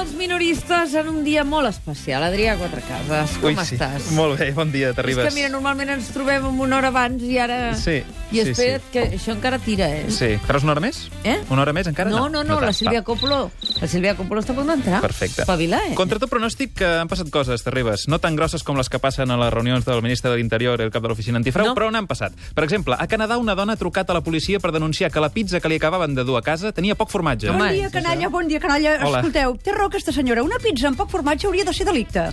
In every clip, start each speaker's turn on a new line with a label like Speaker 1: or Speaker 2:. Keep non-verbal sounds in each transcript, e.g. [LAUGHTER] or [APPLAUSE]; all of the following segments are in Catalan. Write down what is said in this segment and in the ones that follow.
Speaker 1: els minoristes en un dia molt especial. Adrià Quatrecases, com estàs?
Speaker 2: Molt bé, bon dia, t'arribes.
Speaker 1: És que, mira, normalment ens trobem amb una hora abans i ara...
Speaker 2: Sí,
Speaker 1: I
Speaker 2: sí,
Speaker 1: espera't, que això encara tira, eh?
Speaker 2: Sí. Faràs una hora més?
Speaker 1: Eh?
Speaker 2: Una hora més encara?
Speaker 1: No, no, no, la
Speaker 2: tant.
Speaker 1: Sílvia Coppolo, la Sílvia Coppolo està a punt d'entrar.
Speaker 2: Perfecte.
Speaker 1: Espavila, eh?
Speaker 2: Contra tot pronòstic que han passat coses, Terribas. No tan grosses com les que passen a les reunions del ministre de l'Interior i el cap de l'oficina antifrau,
Speaker 1: No.
Speaker 2: però n'han passat. Per exemple, a Canadà una dona ha trucat a la policia per denunciar que la pizza que li acabaven de dur a casa tenia poc formatge.
Speaker 1: Home,
Speaker 3: Bon
Speaker 1: Mai,
Speaker 3: dia, canalla, bon dia, canalla.
Speaker 2: Hola.
Speaker 3: Escolteu, té raó aquesta senyora. Una pizza amb poc formatge hauria de ser delicte.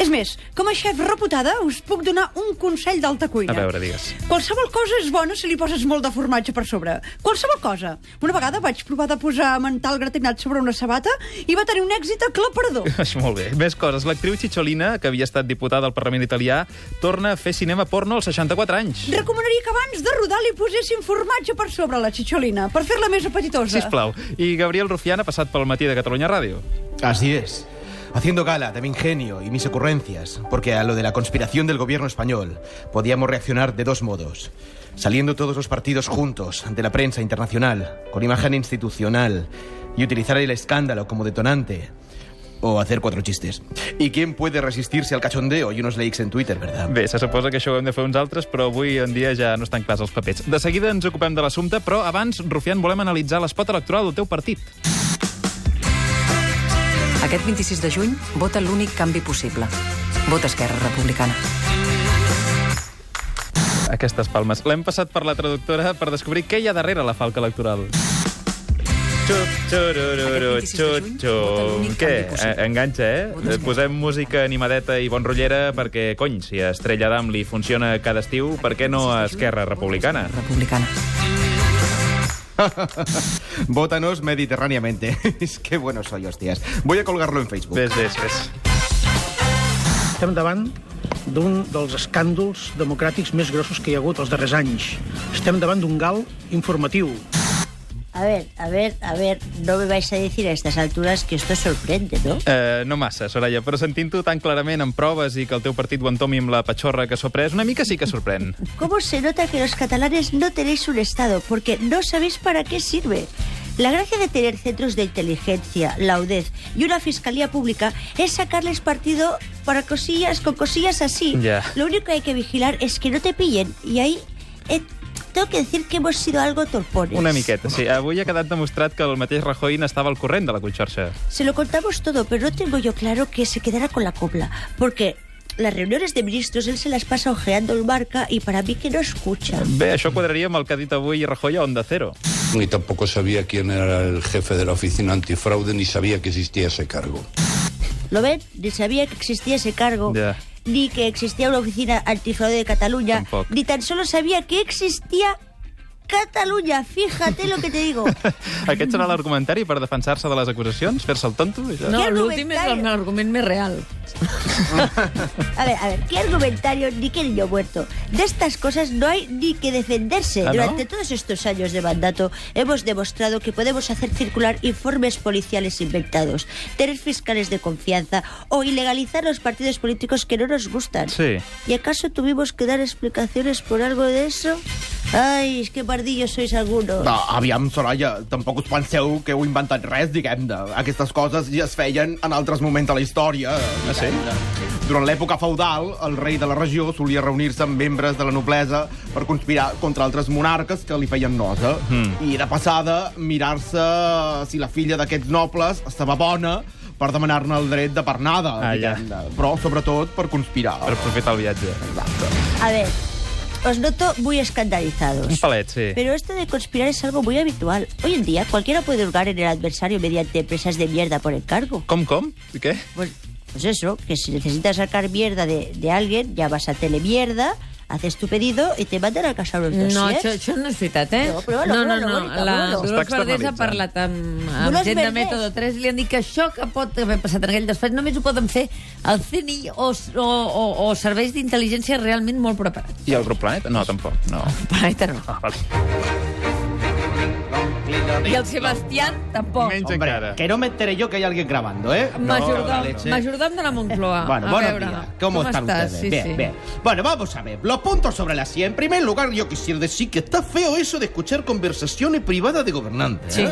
Speaker 3: És més, com a xef reputada, us puc donar un consell d'alta cuina.
Speaker 2: A veure, digues.
Speaker 3: Qualsevol cosa és bona si li poses molt de formatge per sobre. Qualsevol cosa. Una vegada vaig provar de posar mental gratinat sobre una sabata i va tenir un èxit
Speaker 2: [LAUGHS]
Speaker 3: aclaparador.
Speaker 2: [LAUGHS] Això, molt bé. Més coses. L'actriu Cicciolina, que havia estat diputada al Parlament italià, torna a fer cinema porno als 64 anys.
Speaker 3: Recomanaria que abans de rodar li posessin formatge per sobre a la xicholina, per fer-la més apetitosa.
Speaker 2: Sisplau. [LAUGHS] I Gabriel Rufián ha passat pel matí de Catalunya Ràdio.
Speaker 4: Así es. Haciendo gala de mi ingenio y mis ocurrencias, porque a lo de la conspiración del gobierno español podíamos reaccionar de dos modos. Saliendo todos los partidos juntos ante la prensa internacional, con imagen institucional, y utilizar el escándalo como detonante. O hacer cuatro chistes. ¿Y quién puede resistirse al cachondeo y unos likes en Twitter, verdad?
Speaker 2: Bé, se suposa que això ho hem de fer uns altres, però avui en dia ja no estan clars els papers. De seguida ens ocupem de l'assumpte, però abans, Rufián, volem analitzar l'espot electoral del teu partit.
Speaker 5: Aquest 26 de juny vota l'únic canvi possible. Vota Esquerra Republicana.
Speaker 2: Aquestes palmes. L'hem passat per la traductora per descobrir què hi ha darrere la falca electoral. Xup, xurururu,
Speaker 5: Aquest
Speaker 2: xup,
Speaker 5: 26 de juny, vota
Speaker 2: xup.
Speaker 5: l'únic
Speaker 2: Què?
Speaker 5: canvi possible.
Speaker 2: Eh, Enganxa, eh?
Speaker 5: Votes no.
Speaker 2: Posem música animadeta i bon rotllera perquè, cony, si a Estrella Damm li funciona cada estiu, per què no a Esquerra Republicana?
Speaker 5: Republicana.
Speaker 4: Bótanos mediterráneamente. [LAUGHS] es que bueno soy, hostias. Voy a colgarlo en Facebook.
Speaker 2: Ves, ves, ves.
Speaker 6: Estem davant d'un dels escàndols democràtics més grossos que hi ha hagut els darrers anys. Estem davant d'un gal informatiu,
Speaker 7: A ver, a ver, a ver, no me vais a decir a estas alturas que esto sorprende, ¿no?
Speaker 2: Eh, no massa, Soraya, però sentint-ho tan clarament en proves i que el teu partit ho entomi amb la patxorra que s'ho ha pres, una mica sí que sorprèn.
Speaker 7: ¿Cómo se nota que los catalanes no tenéis un Estado? Porque no sabéis para qué sirve. La gracia de tener centros de inteligencia, laudez y una fiscalía pública es sacarles partido para cosillas, con cosillas así.
Speaker 2: Ya.
Speaker 7: Lo único que hay que vigilar es que no te pillen. Y ahí eh, tengo que decir que hemos sido algo torpones.
Speaker 2: Una miqueta, sí. Avui ha quedat demostrat que el mateix Rajoy n'estava al corrent de la conxorxa.
Speaker 7: Se lo contamos todo, pero no tengo yo claro que se quedará con la copla, porque las reuniones de ministros él se las pasa ojeando el marca y para mí que no escucha.
Speaker 2: Bé, això quadraria amb el que ha dit avui Rajoy a Onda Cero. [LAUGHS]
Speaker 8: Ni tampoco sabía quién era el jefe de la oficina antifraude, ni sabía que existía ese cargo.
Speaker 7: ¿Lo ven? Ni sabía que existía ese cargo.
Speaker 2: Ya.
Speaker 7: Ni que existía una oficina antifraude de Cataluña,
Speaker 2: Tampoco.
Speaker 7: ni tan solo sabía que existía Cataluña. Fíjate lo que te digo.
Speaker 2: [LAUGHS] Aquest serà l'argumentari per defensar-se de les acusacions? Fer-se el tonto? Això?
Speaker 1: No,
Speaker 7: Què
Speaker 1: l'últim és el-
Speaker 7: argumentari?
Speaker 1: l'argument més real.
Speaker 7: A ver, a ver, qué argumentario ni qué niño muerto. De estas cosas no hay ni que defenderse.
Speaker 2: ¿Ah, no?
Speaker 7: Durante todos estos años de mandato hemos demostrado que podemos hacer circular informes policiales inventados, tener fiscales de confianza o ilegalizar los partidos políticos que no nos gustan.
Speaker 2: Sí.
Speaker 7: ¿Y acaso tuvimos que dar explicaciones por algo de eso? Ay, es que pardillos sois algunos.
Speaker 4: No, aviam, Soraya, tampoc us penseu que heu inventat res, diguem-ne. Aquestes coses ja es feien en altres moments de la història.
Speaker 2: Ah, sí?
Speaker 4: diguem-ne. Durant l'època feudal, el rei de la regió solia reunir-se amb membres de la noblesa per conspirar contra altres monarques que li feien nosa.
Speaker 2: Hmm.
Speaker 4: Mm. I, de passada, mirar-se si la filla d'aquests nobles estava bona per demanar-ne el dret de pernada,
Speaker 2: Ah, ja.
Speaker 4: diguem-ne. Però, sobretot, per conspirar.
Speaker 2: Per aprofitar el viatge.
Speaker 7: A ver, os noto muy escandalizados.
Speaker 2: Un palet, sí.
Speaker 7: Pero esto de conspirar es algo muy habitual. Hoy en día cualquiera puede hurgar en el adversario mediante empresas de mierda por encargo.
Speaker 2: Com, com? I Què?
Speaker 7: Pues, pues eso, que si necesitas sacar mierda de, de alguien, llamas a Telemierda, haces tu pedido y te mandan a casa unos
Speaker 1: No,
Speaker 7: dossiers.
Speaker 1: això, això no és veritat, eh?
Speaker 7: No, prueba-lo,
Speaker 1: no, no,
Speaker 7: prueba-lo,
Speaker 1: no.
Speaker 7: Mònica,
Speaker 1: La
Speaker 7: prueba-lo.
Speaker 1: Dolors
Speaker 2: Està
Speaker 1: Verdés ha
Speaker 2: externalitzant.
Speaker 1: parlat amb, amb
Speaker 7: Dolors
Speaker 1: gent de
Speaker 7: Verdés.
Speaker 1: Método 3 i li han dit que això que pot haver passat en aquell despatx només ho poden fer el CNI o, o, o, o serveis d'intel·ligència realment molt preparats.
Speaker 4: Ah,
Speaker 2: I el grup Planeta? No, tampoc. No.
Speaker 1: Planeta no.
Speaker 2: Ah, vale.
Speaker 4: L'ompli de
Speaker 1: I el Sebastián tampoc.
Speaker 2: Menys encara.
Speaker 4: Hombre, que no me enteré yo que hay alguien grabando, ¿eh?
Speaker 1: Majordom,
Speaker 4: leche.
Speaker 1: majordom de la Moncloa.
Speaker 4: Bueno,
Speaker 1: Ah, a
Speaker 4: buenos
Speaker 1: veure.
Speaker 4: días. ¿Cómo, están ustedes?
Speaker 1: Sí,
Speaker 4: bien,
Speaker 1: sí.
Speaker 4: bien. Bueno, vamos a ver. Los puntos sobre la silla. En primer lugar, yo quisiera decir que está feo eso de escuchar conversaciones privadas de gobernantes.
Speaker 1: Sí.
Speaker 4: ¿eh?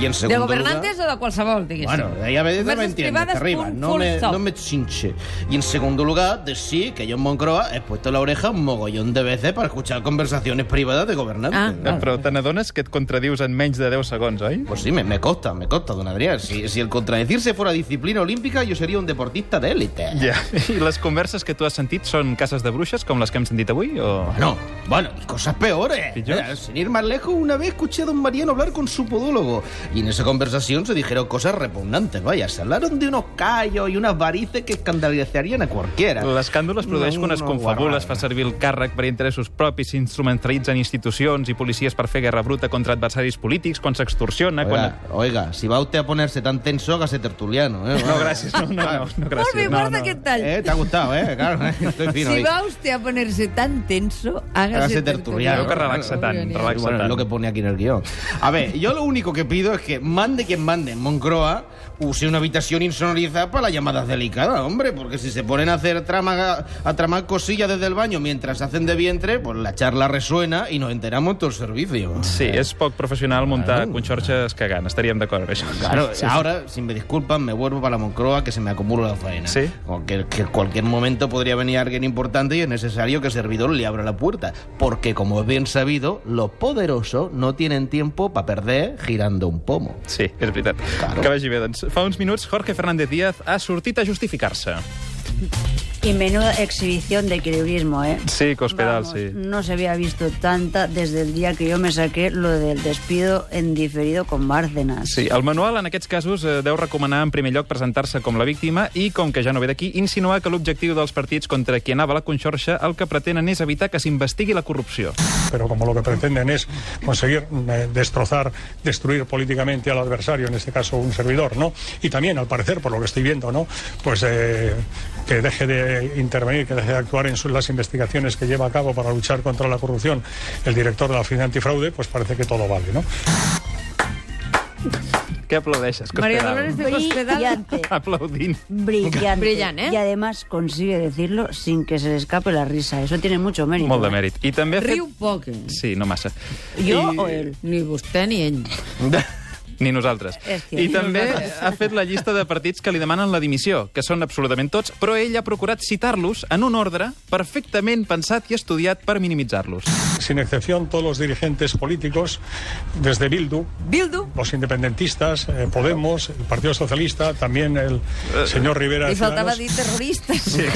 Speaker 4: Y en
Speaker 1: De
Speaker 4: segundo
Speaker 1: gobernantes o de qualsevol, diguéssim.
Speaker 4: Bueno, eh, ahí a veces no me
Speaker 1: Conversas
Speaker 4: entiendes,
Speaker 1: privadas,
Speaker 4: arriba,
Speaker 1: punt,
Speaker 4: no
Speaker 1: full
Speaker 4: me,
Speaker 1: stop.
Speaker 4: no me chinche. Y en segundo lugar, decir que yo en Moncroa he puesto la oreja un mogollón de veces para escuchar conversaciones privadas de gobernantes.
Speaker 1: Ah.
Speaker 2: Eh, Però te n'adones que et contradius en menys de 10 segons, oi?
Speaker 4: Pues sí, me, me consta, me consta, don Adrián. Si, si el contradecirse fuera disciplina olímpica, yo sería un deportista de élite.
Speaker 2: Ja. [LAUGHS] I les converses que tu has sentit són cases de bruixes, com les que hem sentit avui? O...
Speaker 4: Bueno, bueno, y cosas peores.
Speaker 2: ¿Pillos?
Speaker 4: Eh, sin ir más lejos, una vez escuché a don Mariano hablar con su podólogo. Y en esa conversación se dijeron cosas repugnantes, vaya. Se hablaron de unos callos y unas varices que escandalizarían a cualquiera.
Speaker 2: L'escàndol es produeix quan es
Speaker 4: No, no,
Speaker 2: confabula,
Speaker 4: guarrada.
Speaker 2: es fa servir el càrrec per interessos propis, s'instrumentalitzen institucions i policies per fer guerra bruta contra adversaris polítics, quan s'extorsiona, quan...
Speaker 4: Oiga, oiga, si va usted a ponerse tan tenso, hágase tertuliano. ¿eh?
Speaker 2: No, gràcies, [LAUGHS] no, no, no, no gràcies.
Speaker 1: Molt bé,
Speaker 2: no,
Speaker 1: guarda
Speaker 2: no.
Speaker 1: aquest tall.
Speaker 4: Eh, te ha gustado, ¿eh? Claro, eh, estoy fino.
Speaker 1: si
Speaker 4: ahí.
Speaker 1: va usted a ponerse tan tenso, hágase,
Speaker 4: Hágase tertuliano.
Speaker 2: Veu que relaxa tant,
Speaker 4: Eh, Bueno,
Speaker 2: relaxa
Speaker 4: es
Speaker 2: tant.
Speaker 4: lo que pone aquí en el guión. A ver, yo lo único que pido es que mande quien mande en Moncroa use una habitación insonorizada para las llamadas delicadas, hombre, porque si se ponen a hacer trama, a tramar cosillas desde el baño mientras hacen de vientre, pues la charla resuena y nos enteramos todo el servicio. Eh,
Speaker 2: Sí, és poc professional muntar conxorxes cagant, estaríem d'acord amb això.
Speaker 4: Claro, ahora, si me disculpan, me vuelvo para la Moncroa que se me acumula la faena.
Speaker 2: Sí.
Speaker 4: O que, que en cualquier momento podría venir alguien importante y es necesario que el servidor le abra la puerta. Porque, como es bien sabido, los poderosos no tienen tiempo para perder girando un pomo.
Speaker 2: Sí, és veritat.
Speaker 4: Claro.
Speaker 2: Que vagi bé, doncs. Fa uns minuts, Jorge Fernández Díaz ha sortit a justificar-se.
Speaker 9: Y menuda exhibición de equilibrismo, ¿eh?
Speaker 2: Sí, que hospedal,
Speaker 9: Vamos,
Speaker 2: sí.
Speaker 9: No se había visto tanta desde el día que yo me saqué lo del despido en diferido con Bárcenas.
Speaker 2: Sí, el manual en aquests casos eh, deu recomanar en primer lloc presentar-se com la víctima i, com que ja no ve d'aquí, insinuar que l'objectiu dels partits contra qui anava la conxorxa el que pretenen és evitar que s'investigui la corrupció.
Speaker 10: pero como lo que pretenden es conseguir eh, destrozar, destruir políticamente al adversario, en este caso un servidor, ¿no? Y también, al parecer, por lo que estoy viendo, ¿no? Pues eh, que deje de intervenir, que deje de actuar en su- las investigaciones que lleva a cabo para luchar contra la corrupción el director de la oficina antifraude, pues parece que todo vale, ¿no?
Speaker 2: Què aplaudeixes,
Speaker 1: María
Speaker 2: Cospedal?
Speaker 1: Dolores de Cospedal.
Speaker 9: Brillante.
Speaker 2: Aplaudint.
Speaker 9: Brillante.
Speaker 1: Brillante, ¿eh?
Speaker 9: Y además consigue decirlo sin que se le escape la risa. Eso tiene mucho mérito.
Speaker 2: Molt de
Speaker 9: ¿eh?
Speaker 2: mèrit. I també ha
Speaker 1: [LAUGHS]
Speaker 2: fet...
Speaker 1: Riu poc. eh?
Speaker 2: Sí, no massa.
Speaker 9: ¿Yo
Speaker 2: I-
Speaker 9: o él?
Speaker 1: Ni vostè ni ell.
Speaker 2: Ni nosaltres.
Speaker 9: És que-
Speaker 2: I també ha fet la llista de partits que li demanen la dimissió, que són absolutament tots, però ell ha procurat citar-los en un ordre perfectament pensat i estudiat per minimitzar-los.
Speaker 10: Sin excepción, todos los dirigentes políticos, desde Bildu,
Speaker 1: Bildu.
Speaker 10: los independentistas, eh, Podemos, el Partido Socialista, también el señor Rivera. de
Speaker 1: Li faltava
Speaker 10: Ciudadanos.
Speaker 1: dir terroristes.
Speaker 2: Sí,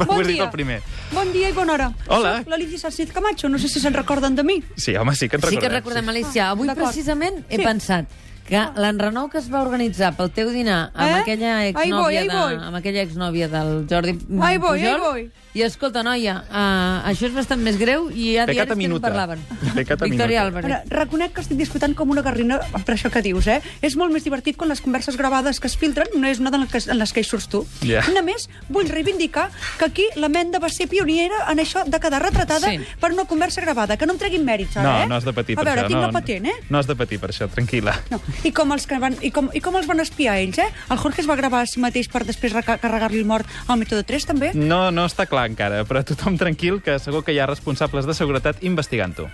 Speaker 3: Bon
Speaker 2: ho he dit
Speaker 3: dia.
Speaker 2: el primer.
Speaker 3: Bon dia i bona hora.
Speaker 2: Hola.
Speaker 3: Soc l'Alicia Sánchez Camacho, no sé si se'n recorden de mi.
Speaker 2: Sí, home, sí que et
Speaker 1: Sí
Speaker 2: recordem.
Speaker 1: que recordem, Alicia. Avui
Speaker 3: D'acord.
Speaker 1: precisament he
Speaker 3: Sí.
Speaker 1: pensat que l'enrenou que es va organitzar pel teu dinar amb
Speaker 3: Eh?
Speaker 1: aquella
Speaker 3: Ahí voy,
Speaker 1: exnòvia
Speaker 3: ahí
Speaker 1: de,
Speaker 3: voy.
Speaker 1: amb aquella exnòvia del Jordi
Speaker 3: Ahí voy, ahí
Speaker 1: Pujol...
Speaker 3: voy.
Speaker 1: I escolta, noia, uh, això és bastant més greu i hi ha
Speaker 2: Pecat a
Speaker 1: diaris que no
Speaker 2: minuta.
Speaker 1: parlaven.
Speaker 2: Pecat a
Speaker 1: Victoria
Speaker 2: minuta.
Speaker 1: Álvarez.
Speaker 3: Ara, reconec que estic disfrutant com una garrina per això que dius, eh? És molt més divertit quan les converses gravades que es filtren no és una de les que, en les que hi surts tu.
Speaker 2: Ja.
Speaker 3: Una més, vull reivindicar que aquí la Menda va ser pionera en això de quedar retratada
Speaker 1: Sí.
Speaker 3: per una conversa gravada, que no em treguin mèrits, ara,
Speaker 2: No,
Speaker 3: eh?
Speaker 2: no has de patir per
Speaker 3: A veure,
Speaker 2: això.
Speaker 3: tinc
Speaker 2: no,
Speaker 3: la patent, eh?
Speaker 2: No has de patir per això, tranquil·la.
Speaker 3: No. I, com els que van, i, com, I com els van espiar ells, eh? El Jorge es va gravar a si mateix per després reca- carregar-li el mort al mètode 3, també?
Speaker 2: No, no està clar encara, però tothom tranquil, que segur que hi ha responsables de seguretat investigant-ho.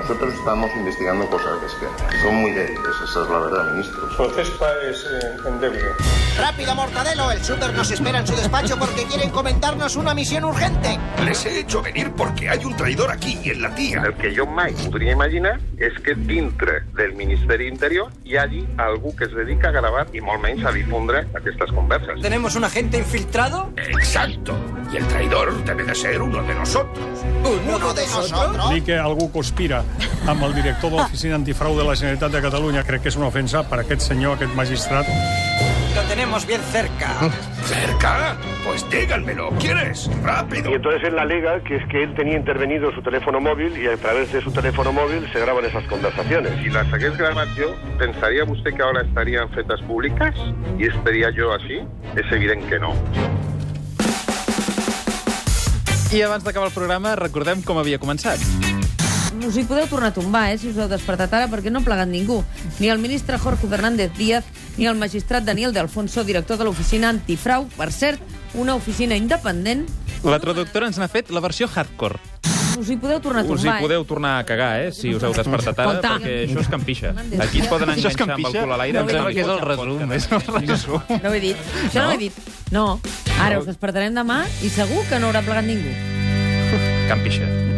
Speaker 11: Nosotros estamos investigando cosas que, es que son muy débiles, esa es la verdad, ministro.
Speaker 10: protesta es endeble.
Speaker 4: Rápido, Mortadelo, el súper nos espera en su despacho porque quieren comentarnos una misión urgente.
Speaker 8: Les he hecho venir porque hay un traidor aquí y en la tía.
Speaker 11: El que jo mai podria imaginar és que dintre del Ministeri Interior hi hagi algú que es dedica a gravar i molt menys a difondre aquestes converses.
Speaker 5: ¿Tenemos un agente infiltrado?
Speaker 8: Exacto. Y el traidor debe de ser uno de nosotros.
Speaker 4: ¿Uno de nosotros?
Speaker 10: Dir que algú conspira amb el director de l'Oficina Antifrau de la Generalitat de Catalunya crec que és una ofensa per a aquest senyor, aquest magistrat.
Speaker 5: Lo tenemos bien cerca.
Speaker 8: ¿Cerca? Pues díganmelo. ¿Quieres? Rápido.
Speaker 11: Y entonces él alega que es que él tenía intervenido su teléfono móvil y a través de su teléfono móvil se graban esas conversaciones. Si las hagués gravat jo, pensaria vostè que ara estarien fetes públiques? I estaria jo així? És evident que no.
Speaker 2: I abans d'acabar el programa, recordem com havia començat.
Speaker 1: us hi podeu tornar a tombar, eh, si us heu despertat ara, perquè no ha plegat ningú. Ni el ministre Jorge Fernández Díaz, ni el magistrat Daniel de Alfonso, director de l'oficina antifrau, per cert, una oficina independent.
Speaker 2: La traductora ens n'ha fet la versió hardcore.
Speaker 1: Us hi podeu tornar a
Speaker 2: Us hi
Speaker 1: tombar, eh?
Speaker 2: podeu tornar a cagar, eh, si us heu despertat ara,
Speaker 1: Compte.
Speaker 2: perquè això és campixa. Aquí es poden
Speaker 12: Això és
Speaker 2: enganxar amb el
Speaker 12: campixa?
Speaker 2: cul a l'aire.
Speaker 12: Em sembla que és el resum, eh?
Speaker 2: És el resum.
Speaker 1: No ho he dit. Això no,
Speaker 2: No?
Speaker 1: ho he dit. No. Ara us despertarem demà i segur que no haurà plegat ningú.
Speaker 2: Campixa.